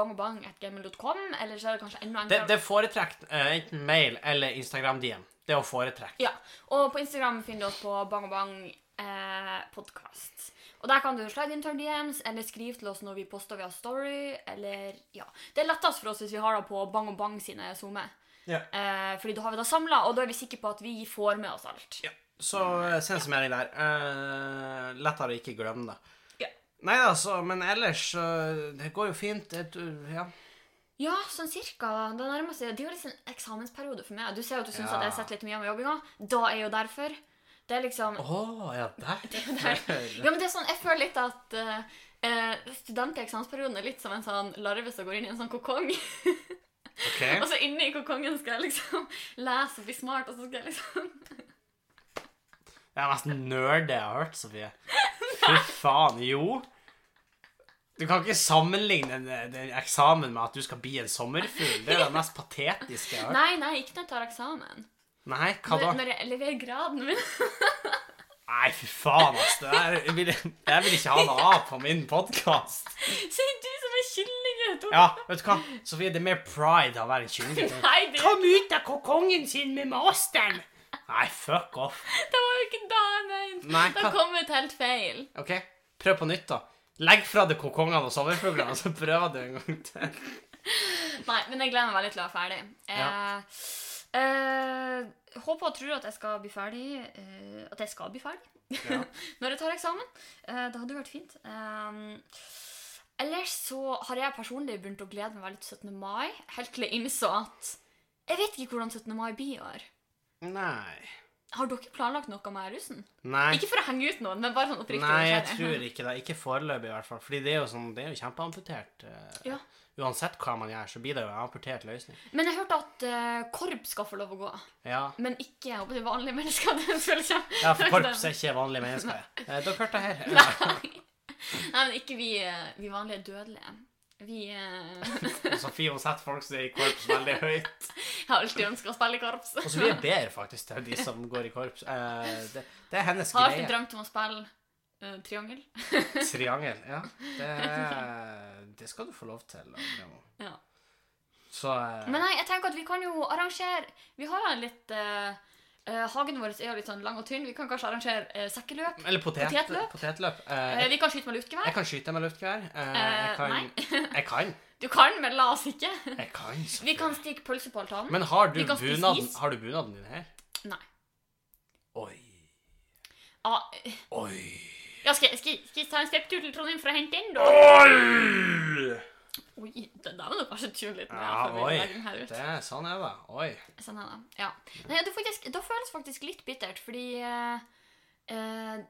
bangogbang.gmail.com, eller så er det kanskje enda Det, enklere. det er foretrekt eh, enten mail eller Instagram-DM. Det er å foretrekke. Ja, og på Instagram finner du oss på bangogbang eh, podcast. Og der kan du slide inn til DMs, eller skrive til oss når vi poster via story, eller ja. Det er lettest for oss hvis vi har det på Bang og Bang sine zoomer. Ja. Eh, fordi da har vi det samlet, og da er vi sikre på at vi får med oss alt. Ja, så eh, send oss en melding der. Eh, lettere å ikke glemme det. Ja. Nei da, så Men ellers eh, Det går jo fint. Jeg tror- ja. Ja, sånn cirka. Det nærmer seg. Det er jo liksom en eksamensperiode for meg. Du ser jo at du syns Ja. at jeg setter litt mye av meg jobbinga. Da er jo derfor. Det er liksom Å ja, der. Ja, men det er sånn, Jeg føler litt at eh, eh, student i eksamensperioden er litt som en sånn larve som går inn i en sånn kokong. Ok. og så inni kokongen skal jeg liksom lese og bli smart, og så skal jeg liksom Det er nesten nerd jeg har hørt, Sofie. Fy faen, jo. Du kan ikke sammenligne den, den eksamen med at du skal bli en sommerfugl. Det er det mest patetiske jeg har hørt. Nei, nei, ikke når jeg tar eksamen. Nei, hva Når, da? når jeg leverer graden min. Nei, fy faen, ass. Det der, jeg, vil, jeg vil ikke ha noe av på min podkast. Sier du som er kyllinggutt! Ja, vet du hva? Sofie, det er mer pride av å være kyllinggutt. Nei, det, Kom ut av kokongen sin med masteren! Nei, fuck off. det var jo ikke det jeg mente! Nei, Da hva- kom ut helt feil. Ok, prøv på nytt da. Legg fra deg kokongene og sommerfuglene, og så prøver du en gang til. Nei, men jeg gleder meg veldig til å være ferdig. Eh, Ja. eh, håper og tror at jeg skal bli ferdig eh, At jeg skal bli ferdig Ja. når jeg tar eksamen. Eh, det hadde jo vært fint. Ehm, ellers så har jeg personlig begynt å glede meg veldig til 17. mai, helt til jeg innså at jeg vet ikke hvordan 17. mai blir i år. Nei. Har dere planlagt noe med russen? Nei. Ikke for å henge ut noen, men bare sånn oppriktig. Nei, jeg nysgjerrig. tror ikke det. Ikke foreløpig, i hvert fall. Fordi det er jo, sånn, det er jo kjempeamputert. eh, Ja. Uansett hva man gjør, så blir det jo en amputert løsning. Men jeg hørte at eh, korps skal få lov å gå. Ja, Men ikke jeg håper det er vanlige mennesker. Det føles kjem- ja for korps er ikke vanlige mennesker. Eh, Dere hørte det her. Nei, Nei, men ikke vi, eh, vi vanlige dødelige. Vi eh, Eh, Sofie hun setter folk som er i korps veldig høyt. har alltid ønska å spille i korps. Og Sofie ber faktisk til de som går i korps. Eh, Det, det er hennes Har alltid greie. drømt om å spille eh, triangel. Triangel, ja. Det, det skal du få lov til. Lemo. Ja. Så eh, Men nei, jeg tenker at vi kan jo arrangere Vi har jo en litt eh, eh, Hagen vår er jo litt sånn lang og tynn. Vi kan kanskje arrangere eh, sekkeløp. Eller potet, Potetløp? potetløp. Eh, Eh, jeg, vi kan skyte med luftgevær. jeg kan skyte med luftgevær. Eh, Eh, jeg kan nei. Jeg kan. Du kan, men la oss ikke. Jeg kan. Vi kan stikke pølse på altanen. Men har du, Vi kan spise bunaden, is. har du bunaden din her? Nei. Oi. Ja, Oi. Ah, eh, ja, skal, jeg- skal, jeg- skal jeg ta en stepptur til Trondheim for å hente den, da? Oi! Oi, den der må du kanskje tune litt mer. Ja, for vi oi. legger den her ut. Det er sånn er det. Oi. Sånn er det. Ja. Nei, det, er faktisk, det føles faktisk litt bittert, fordi eh, eh,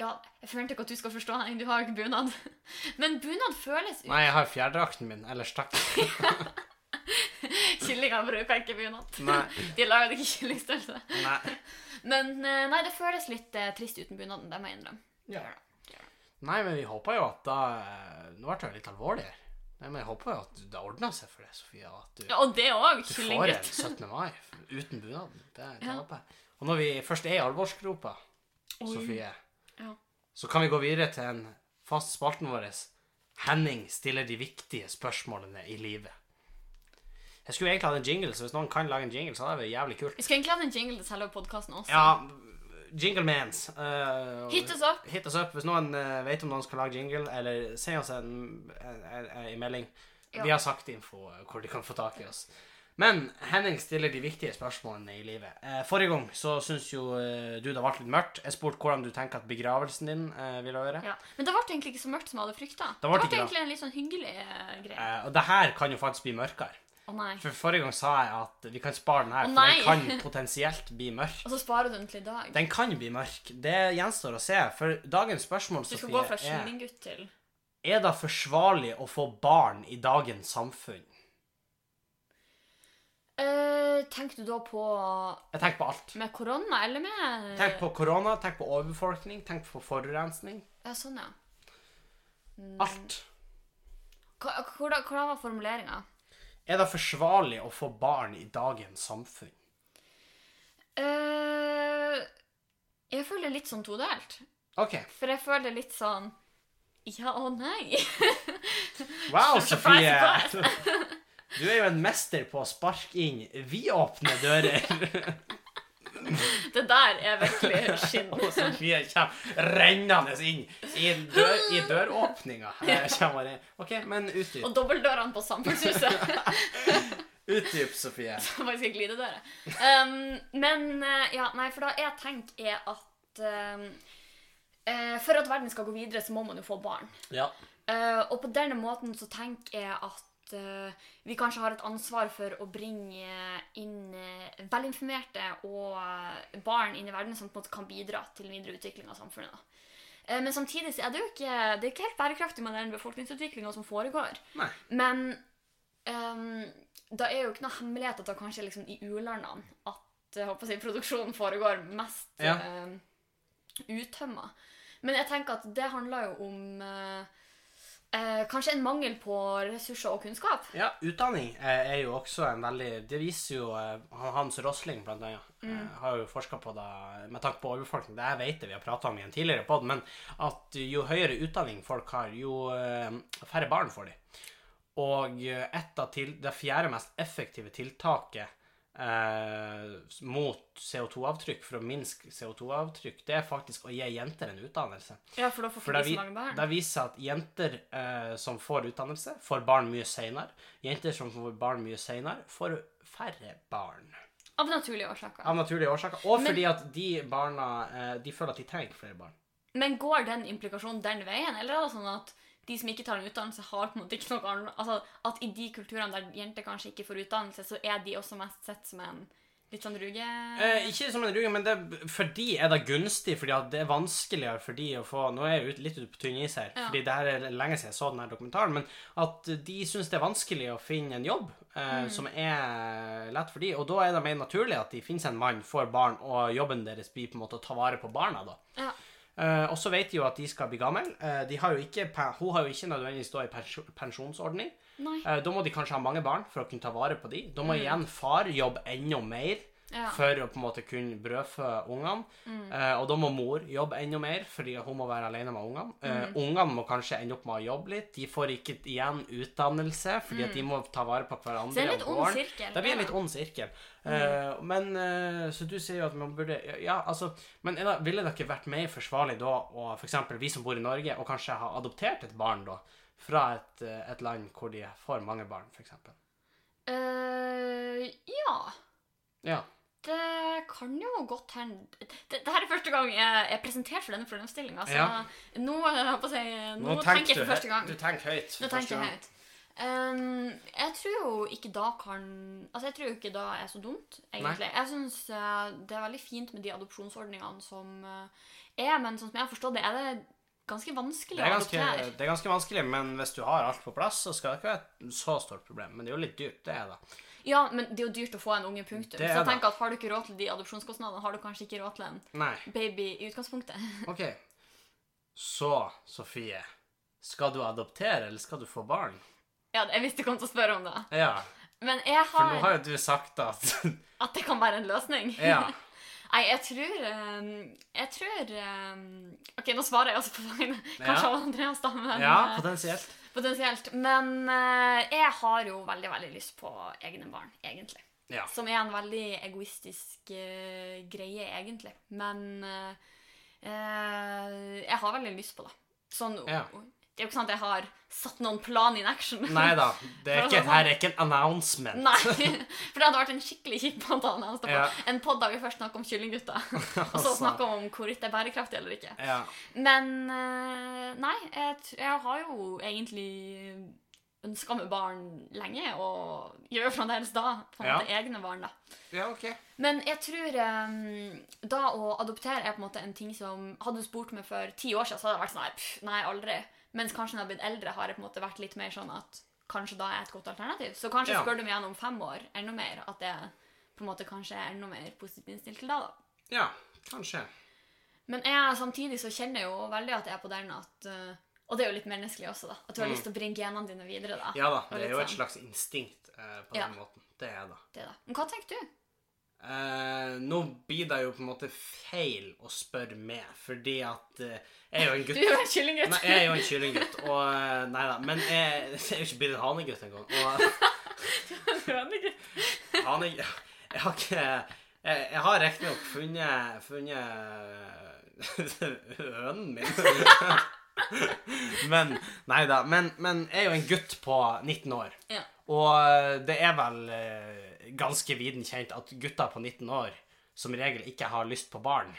Ja, jeg forventer ikke at du skal forstå, Henning, du har jo ikke bunad. Men bunad føles ut. Nei, jeg har fjærdrakten min. Ellers takk. Kyllinger bruker ikke bunad. Nei. De lager det ikke i kyllingstørrelse. Nei. Men eh, nei, det føles litt eh, trist uten bunaden, det må jeg innrømme. Ja. Nei, men vi håper jo at da eh, Nå ble det jo litt alvorlig her. Nei, men jeg håper jo at det ordner seg for deg, Sofia. At du, Ja, og det òg. du får en Kyllinggutt. 17. mai f- uten bunaden. Det, det Ja. håper jeg. Og når vi først er i alvorsgropa, Oi. Sofie, Ja. så kan vi gå videre til en fast spalten vår. Henning stiller de viktige spørsmålene i livet. Jeg skulle egentlig hatt en jingle, så hvis noen kan lage en jingle, så hadde det vært jævlig kult. Vi skulle egentlig hatt en jingle til selve podkasten også. Ja, jingle mans. eh, Hit us up. Hit oss opp hvis noen eh, vet om noen skal lage jingle, eller send oss en, en, en, en melding. Ja. Vi har sagt info eh, hvor de kan få tak i oss. Men Henning stiller de viktige spørsmålene i livet. Eh, forrige gang så syns jo eh, du det ble litt mørkt. Jeg spurte hvordan du tenker at begravelsen din eh, ville være. Ja. Men det ble egentlig ikke så mørkt som jeg hadde frykta. Det ble ble ikke det. egentlig en litt sånn hyggelig eh, greie. Eh, og det her kan jo faktisk bli mørkere. Å nei. For forrige gang sa jeg at vi kan spare den her, Å, for den nei. kan potensielt bli mørk. Og så sparer du den til i dag. Den kan bli mørk. Det gjenstår å se. For dagens spørsmål, Du skal Sofie, gå fra er kyllinggutt til Er det forsvarlig å få barn i dagens samfunn? Eh, Tenker du da på Jeg tenker på alt. med korona, eller med Tenk på korona, tenk på overbefolkning, tenk på forurensning. Ja, sånn, ja. Mm. Alt. Hva- Hvordan, hvordan var formuleringa? Er det forsvarlig å få barn i dagens samfunn? Eh, jeg føler det er litt sånn todelt. OK. For jeg føler det er litt sånn ja og nei. Wow, Sofie! Surprise, Du er jo en mester på å sparke inn vidåpne dører. Det der er virkelig skinn. Og Sofie kommer rennende inn i, dør, i døråpninga. Her kommer det. OK, men utdyp. Og dobbeltdørene på Samfunnshuset. Utdyp, Sofie. Det var faktisk en glidedøre. Um, men eh, ja, nei, for da jeg tenker er at um, eh, For at verden skal gå videre, så må man jo få barn. Ja. Eh, og på denne måten så tenker jeg at eh, vi kanskje har et ansvar for å bringe inn eh, velinformerte og eh, barn inn i verden som på en måte kan bidra til videre utvikling av samfunnet. da. Eh, Men samtidig så er det jo ikke, det er ikke helt bærekraftig med den befolkningsutviklinga som foregår. Nei. Men ehm, da er jo ikke noe hemmelighet at det kanskje er liksom i u-landene at jeg håper å si, produksjonen foregår mest Ja. ehm, uttømma. Men jeg tenker at det handler jo om eh, eh, kanskje en mangel på ressurser og kunnskap. Ja, utdanning eh, er jo også en veldig Det viser jo eh, han- Hans Rosling, blant annet. eh, Har jo forska på det med tanke på overbefolkning. Det her vet jeg vi har prata om i en tidligere pod, men at jo høyere utdanning folk har, jo eh, færre barn får de. Og eh, et av til, det fjerde mest effektive tiltaket eh, mot CO2-avtrykk, for å minske CO2-avtrykk, det er faktisk å gi jenter en utdannelse. Ja, for da får For det, vi vi, så mange barn. det viser seg at jenter eh, som får utdannelse, får barn mye senere. Jenter som får barn mye senere, får færre barn. Av naturlige årsaker. Av naturlige årsaker. Og Men- fordi at de barna eh, de føler at de trenger ikke flere barn. Men går den implikasjonen den veien, eller er det sånn at de som ikke tar en utdannelse, har på en måte ikke noe annet Altså at i de kulturene der jenter kanskje ikke får utdannelse, så er de også mest sett som en litt sånn ruge... Eh, ikke som en ruge, men det, for de er det gunstig, fordi at det er vanskeligere for de å få Nå er jeg ut, litt ute på tynn is her, Ja. fordi det her er lenge siden jeg så den her dokumentaren, men at de syns det er vanskelig å finne en jobb eh, som er lett for de, og da er det mer naturlig at de finner seg en mann, får barn, og jobben deres blir på en måte å ta vare på barna, da. Ja. Eh, og så vet de jo at de skal bli gammel. Eh, de har jo ikke, pe- hun har jo ikke nødvendigvis da i pensjo- pensjonsordning. Nei. Eh, Da må de kanskje ha mange barn for å kunne ta vare på de. Da må igjen far jobbe enda mer Ja. for å på en måte kunne brødfø ungene. Mm. Eh, og da må mor jobbe enda mer, fordi hun må være alene med ungene. Eh, Mm. Ungene må kanskje ende opp med å jobbe litt. De får ikke igjen utdannelse, fordi at de må ta vare på Mm. Så det hverandre er en litt og ond gården. sirkel. Det blir en Ja. Mm. litt ond sirkel. Eh, men eh, Så du sier jo at man burde ja, Ja, altså Men er da- ville det ikke vært mer forsvarlig da å f.eks. vi som bor i Norge, og kanskje ha adoptert et barn da, fra et, eh, et land hvor de får mange barn, f.eks.? Eh, ja. Ja. Det kan jo godt hende Dette er første gang jeg er presentert for denne problemstillinga. Så Ja. nå, eh, jeg holdt på å si, nå, tenker jeg for hø- første gang. Du tenker høyt. for Nå første tenker jeg gang. høyt. Ehm, jeg tror jo ikke da kan Altså, jeg tror jo ikke da er så dumt, egentlig. Jeg syns det er veldig fint med de adopsjonsordningene som eh, er, men sånn som jeg har forstått det, er det ganske vanskelig Det er, å ganske, adoptere. det er ganske vanskelig, men hvis du har alt på plass, så skal det ikke være et så stort problem. Men det er jo litt dyrt, det er det. Ja, men det er jo dyrt å få en unge, punktum. Det er Så jeg det. tenker at har du ikke råd til de adopsjonskostnadene, har du kanskje ikke råd til en Nei. baby i utgangspunktet. OK. Så, Sofie. Skal du adoptere, eller skal du få barn? Ja, jeg visste du kom til å spørre om det. Ja, Men jeg for har nå har jo du sagt at At det kan være en løsning? Ja. Nei, jeg tror eh, Jeg tror eh, OK, nå svarer jeg også på vegne kanskje Ja. av Andreas, da, men Ja, eh, potensielt. potensielt. Men eh, jeg har jo veldig, veldig lyst på egne barn, egentlig. Ja. Som er en veldig egoistisk eh, greie, egentlig. Men eh, eh, jeg har veldig lyst på det. Sånn Ja. Det er jo ikke sånn at jeg har satt noen plan in action. Nei da. Det er ikke, her er ikke en announcement. Nei, for det hadde vært en skikkelig kjip pantan. Ja. En podd der vi først snakker om kyllinggutter, og så snakker vi om hvorvidt det er bærekraftig eller ikke. Ja. Men eh, nei, jeg, tr- jeg har jo egentlig ønska meg barn lenge, og gjør fremdeles da, på en Ja. måte egne barn, da. ja, OK. Men jeg tror eh, da å adoptere er på en måte en ting som Hadde du spurt meg for ti år siden, så hadde jeg vært sånn nei, pff, nei, aldri. Mens kanskje når jeg har blitt eldre, har jeg på en måte vært litt mer sånn at kanskje da er et godt alternativ. Så kanskje Ja. spør du meg igjen om fem år enda mer, at jeg på en måte kanskje er enda mer positivt innstilt til da, da. Ja, kanskje. Men jeg samtidig så kjenner jeg jo veldig at jeg er på den at eh, Og det er jo litt menneskelig også, da. At du har Mm. lyst til å bringe genene dine videre, da. Ja da. Og Det litt er jo et sånn. slags instinkt eh, på Ja. den måten. Det er det. Det, da. Men hva tenker du? Eh, nå blir det jo på en måte feil å spørre meg, fordi at eh, jeg er jo en Du gutt. er jo en kyllinggutt. Nei, jeg er jo en kyllinggutt, og eh, Nei da. Men jeg, jeg er jo ikke blitt en hanegutt engang. Og Nei, hane... Jeg har ikke Jeg, jeg har riktignok funnet funnet eh, hønen min. Men Nei da. Men, men jeg er jo en gutt på 19 år. Ja. Og eh, det er vel eh, ganske viden kjent at gutter på 19 år som regel ikke har lyst på barn.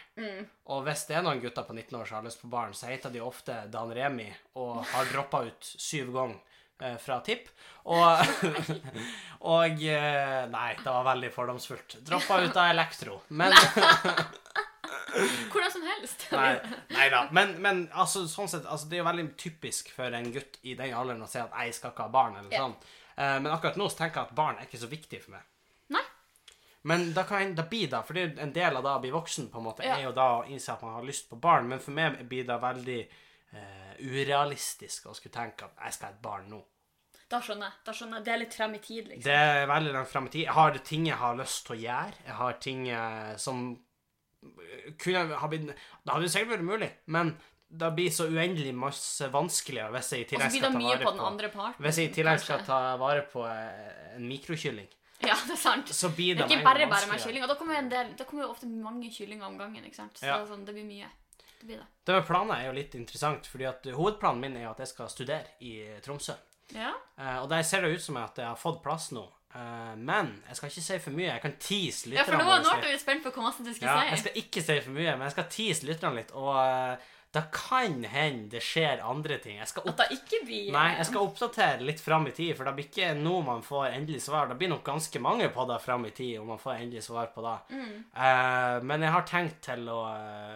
Og hvis det er noen gutter på 19 år som har lyst på barn, så heter de ofte Dan Remi og har droppa ut syv ganger eh, fra tipp. Og, og eh, Nei, det var veldig fordomsfullt. Droppa ut av elektro. Men Hvordan som helst. Nei, nei da. Men, men altså, sånn sett, altså, det er jo veldig typisk for en gutt i den alderen å si at 'jeg skal ikke ha barn', eller Ja. sånn. Eh, men akkurat nå så tenker jeg at barn er ikke så viktig for meg. Nei. Men da kan da blir det, for det er jo en del av det å bli voksen, på en måte, Ja. er jo da å innse at man har lyst på barn. Men for meg blir det veldig eh, urealistisk å skulle tenke at 'jeg skal ha et barn nå'. Da skjønner jeg. da skjønner jeg. Det er litt frem i tid, liksom. Det er veldig langt frem i tid. Jeg har ting jeg har lyst til å gjøre. Jeg har ting eh, som eh, kunne ha blitt Det hadde jo sikkert vært mulig, men det blir så uendelig masse vanskeligere hvis jeg i Og så tillegg blir det skal ta mye på vare den på andre parten. liksom, Hvis jeg i tillegg skal kanskje. ta vare på eh, en mikrokylling, Ja, det er sant. så blir Det er det ikke med en bare gang bare med vanskeligere. kylling. Og da kommer, jo en del, da kommer jo ofte mange kyllinger om gangen, ikke sant. Så Ja. det, er sånn, det blir mye. Det blir det. Det med planer er jo litt interessant, fordi at hovedplanen min er jo at jeg skal studere i Tromsø. Ja. Eh, og der ser det ut som at jeg har fått plass nå. Eh, men jeg skal ikke si for mye. Jeg kan tease ja, for lytterne nå, nå våre litt. ble vi spent på hva masse du skulle Ja, jeg si. skal ikke si for mye, men jeg skal tease lytterne litt. Og eh, det kan hende det skjer andre ting. Jeg skal, opp... At det ikke blir Nei, jeg skal oppdatere litt fram i tid, for det blir ikke nå man får endelig svar. Det blir nok ganske mange podder fram i tid om man får endelig svar på det. Mm. Eh, men jeg har tenkt til å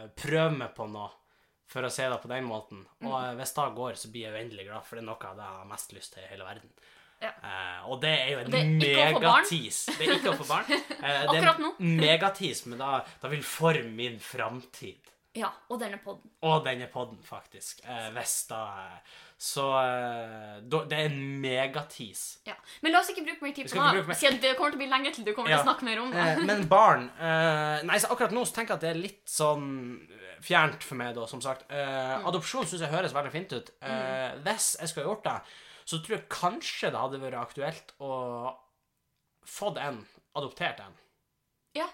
eh, prøve meg på noe, for å si det på den måten. Og Mm. eh, hvis det går, så blir jeg uendelig glad, for det er noe av det jeg har mest lyst til i hele verden. Ja. Eh, og det er jo det er en ikke å få barn. megatis. Det er ikke å få barn. Eh, det er Akkurat nå. en megatis, men da, da vil forme min framtid. Ja, og denne podden. Og denne podden, faktisk. Eh, hvis da eh, Så eh, da, det er en megatease. Ja. Men la oss ikke bruke mer tid Vi på skal ikke det, bruke mer- siden det kommer til å bli lenge til du kommer Ja. til å snakke mer om det. Eh, men barn eh, Nei, så akkurat nå så tenker jeg at det er litt sånn fjernt for meg, da, som sagt. Eh, Adopsjon syns jeg høres veldig fint ut. Eh, hvis jeg skulle ha gjort det, så tror jeg kanskje det hadde vært aktuelt å fått en, adoptert en. Ja.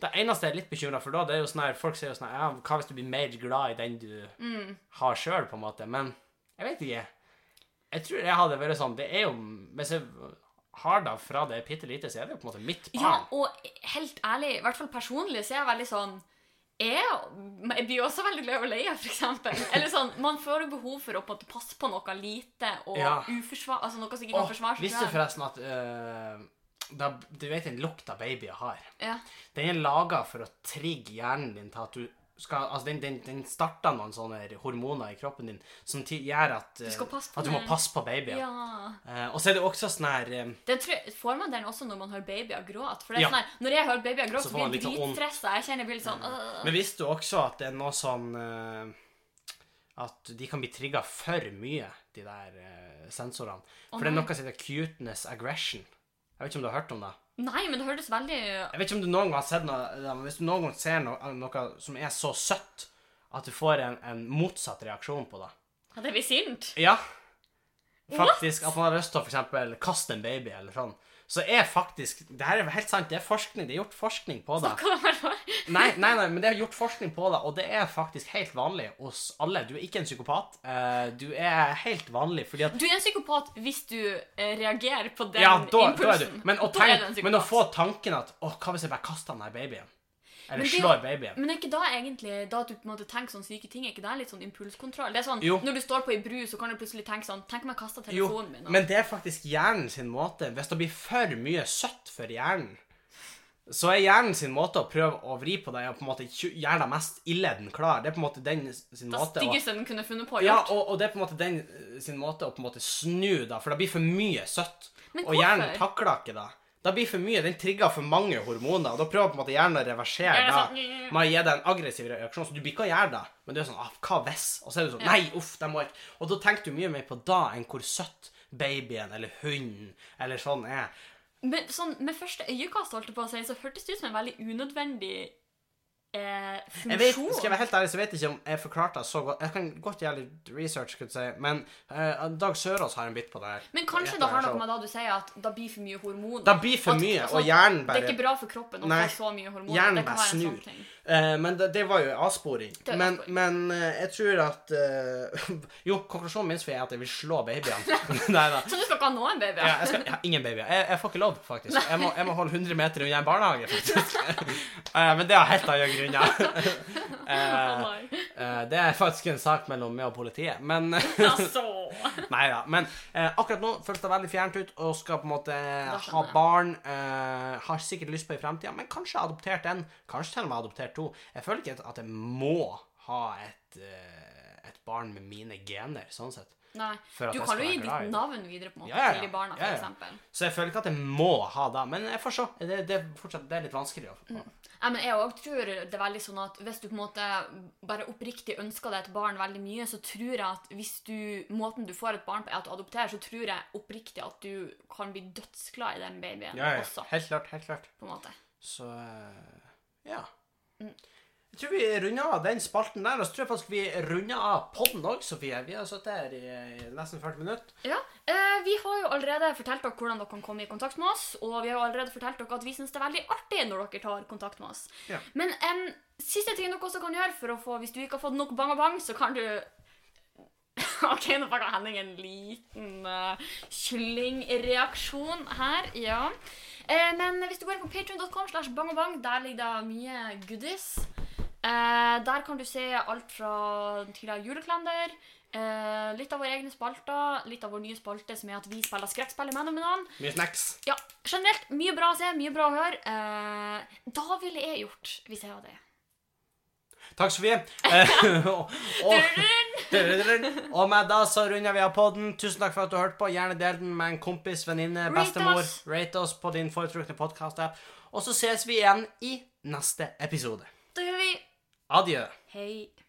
Det eneste jeg er litt bekymra for da, det er jo sånn her Folk sier jo sånn her ja, Hva hvis du blir mer glad i den du Mm. har sjøl, på en måte? Men jeg vet ikke. Jeg tror jeg hadde vært sånn Det er jo Hvis jeg har det fra det er bitte lite, så er det jo på en måte mitt barn. Ja, og helt ærlig, i hvert fall personlig, så er jeg veldig sånn jeg, jeg blir jo også veldig glad i å leie, for eksempel. Eller sånn, man får jo behov for å på en måte passe på noe lite og Ja. uforsvar... Altså noe som ikke kan Åh, forsvare seg Visste du selv. forresten at eh, da, Du vet den lukta babyer har? Ja. Den er laga for å trigge hjernen din til at du skal Altså, den, den, den starter noen sånne hormoner i kroppen din som ti- gjør at eh, skal passe på At du må den. passe på babyer. ja. Eh, og så er det også sånn her eh, Den tror jeg, får man den også når man hører babyer gråte? For det er Ja. sånn her, når jeg hører babyer Så gråte, så får man blir jeg litt sånn dritstressa. Jeg kjenner jeg blir litt sånn øh. Men visste du også at det er noe sånn eh, At de kan bli trigga for mye, de der eh, sensorene. For det nei. er noe som heter cuteness aggression. Jeg vet ikke om du har hørt om det? Nei, men det høres veldig Jeg vet ikke om du noen gang har sett noe ja, men Hvis du noen gang ser noe, eh, noe som er så søtt at du får en, en motsatt reaksjon på det. Ja, Det blir sint. Ja. Faktisk. At man har lyst til å for eksempel kaste en baby eller sånn. Så er faktisk Det her er helt sant, det er forskning. Det er gjort forskning på det. Hva var det? Nei, nei, nei, men det er gjort forskning på det, og det er faktisk helt vanlig hos alle. Du er ikke en psykopat. eh, Du er helt vanlig fordi at Du er en psykopat hvis du eh, reagerer på den Ja, da, impulsen. da er du Men å, Da er du en tenk, psykopat. men å få tanken at Å, hva hvis jeg bare kaster den der babyen? Eller Men det- slår babyen? Men er ikke da egentlig da at du på en måte tenker sånn syke ting? Er ikke det litt sånn impulskontroll? Det er sånn, Jo. Når du står på ei bru, så kan du plutselig tenke sånn Tenk om jeg kaster Jo, telefonen min? nå?» men det er faktisk hjernen sin måte Hvis det blir for mye søtt for hjernen, så er hjernen sin måte å prøve å vri på deg og på en måte tju- gjøre deg mest ille den klar. Det er på en måte den sin det måte å styggeste den kunne funnet på å ja, gjøre. og, og det er på en måte den eh, sin måte å på en måte snu, da, for det blir for mye søtt. Men Og hjernen hvorfor? takler ikke det. Det blir for mye, Den trigger for mange hormoner, og da prøver på en måte hjernen å reversere Ja, det er sånn, det. mm. Man gir deg en aggressiv reaksjon, så du blir ikke å gjøre det. Men du er sånn ah, 'Hva hvis?' Og så er du sånn 'Nei, uff, det må jeg ikke'. Og da tenker du mye mer på da enn hvor søtt babyen eller hunden eller sånn er. Men sånn, med første øyekast holdt jeg på å si, så hørtes det ut som en veldig unødvendig eh, funksjon. Jeg vet, skal jeg være helt ærlig, så vet jeg ikke om jeg forklarte det så godt. Jeg kan godt gjøre litt research, skulle jeg si, men eh, Dag Sørås har en bit på det her. Men kanskje det har noe med da du sier at det blir for mye hormoner. Det blir for At- mye, sånn, og hjernen Det er bare ikke bra for kroppen å Nei. få så mye hormoner. Hjernen det kan bare være en snur. sånn ting. Eh, men det, det var jo en avsporing. er en men, avsporing. men eh, jeg tror at eh, Jo, konklusjonen min er at jeg vil slå babyene. Nei da. Så du skal ikke ha noen babyer? Ja, jeg, skal, jeg har ingen babyer. Jeg, jeg får ikke lov, faktisk. Jeg må, jeg må holde 100 meter unna en barnehage, faktisk. Eh, men det har helt andre grunner. Eh, Å, nei. eh, det er faktisk en sak mellom meg og politiet. Men Altså. Nei da. Men eh, akkurat nå føles det veldig fjernt ut og skal på en måte skjønner ha jeg. barn. Eh, har sikkert lyst på i fremtida, men kanskje adoptert en. Kanskje til og med adoptert to. Jeg føler ikke at- at jeg må ha et, eh, et barn med mine gener, sånn sett. Nei. For at Du jeg kan skal jo gi være glad i ditt det. navn videre på en måte Ja, ja, ja. til de barna, Ja, ja. for eksempel. Så jeg føler ikke at jeg må ha det. Men jeg får se. Det, det, er fortsatt, det er litt vanskelig å få. Nei, men jeg også tror det er veldig sånn at hvis du på en måte bare oppriktig ønsker deg et barn veldig mye, så tror jeg at hvis du, måten du får et barn på er at du adopterer, så tror jeg oppriktig at du kan bli dødsglad i den babyen også, Helt klart. Helt klart. på en måte. Så eh, ja. Mm. Jeg tror vi runder av den spalten der. Og så tror jeg faktisk vi runder av podden òg, Sofie. Vi har sittet her i, i nesten 40 minutter. Ja, eh, Vi har jo allerede fortalt dere hvordan dere kan komme i kontakt med oss, og vi har jo allerede fortalt dere at vi syns det er veldig artig når dere tar kontakt med oss. Ja. Men em, siste ting dere også kan gjøre for å få Hvis du ikke har fått nok bang og bang, så kan du OK, nå fikk jeg Henning en liten eh, kyllingreaksjon her. Ja. Eh, men hvis du går inn på patreon.com slash bang og bang, der ligger det mye goodies. Eh, der kan du se alt fra tidligere julekalender, eh, litt av våre egne spalter, litt av vår nye spalte som er at vi spiller skrekkspill i Menomenoen. Mye snacks. Ja, generelt mye bra å se, mye bra å høre. Eh, da ville jeg gjort, hvis jeg hadde det. Takk, Sofie. Eh, og, og, og med da så runder vi av podden. Tusen takk for at du hørte på. Gjerne del den med en kompis, venninne, Rate bestemor. oss. Rate oss på din foretrukne podkast-app. Og så ses vi igjen i neste episode. Da gjør vi Adjø. Hei.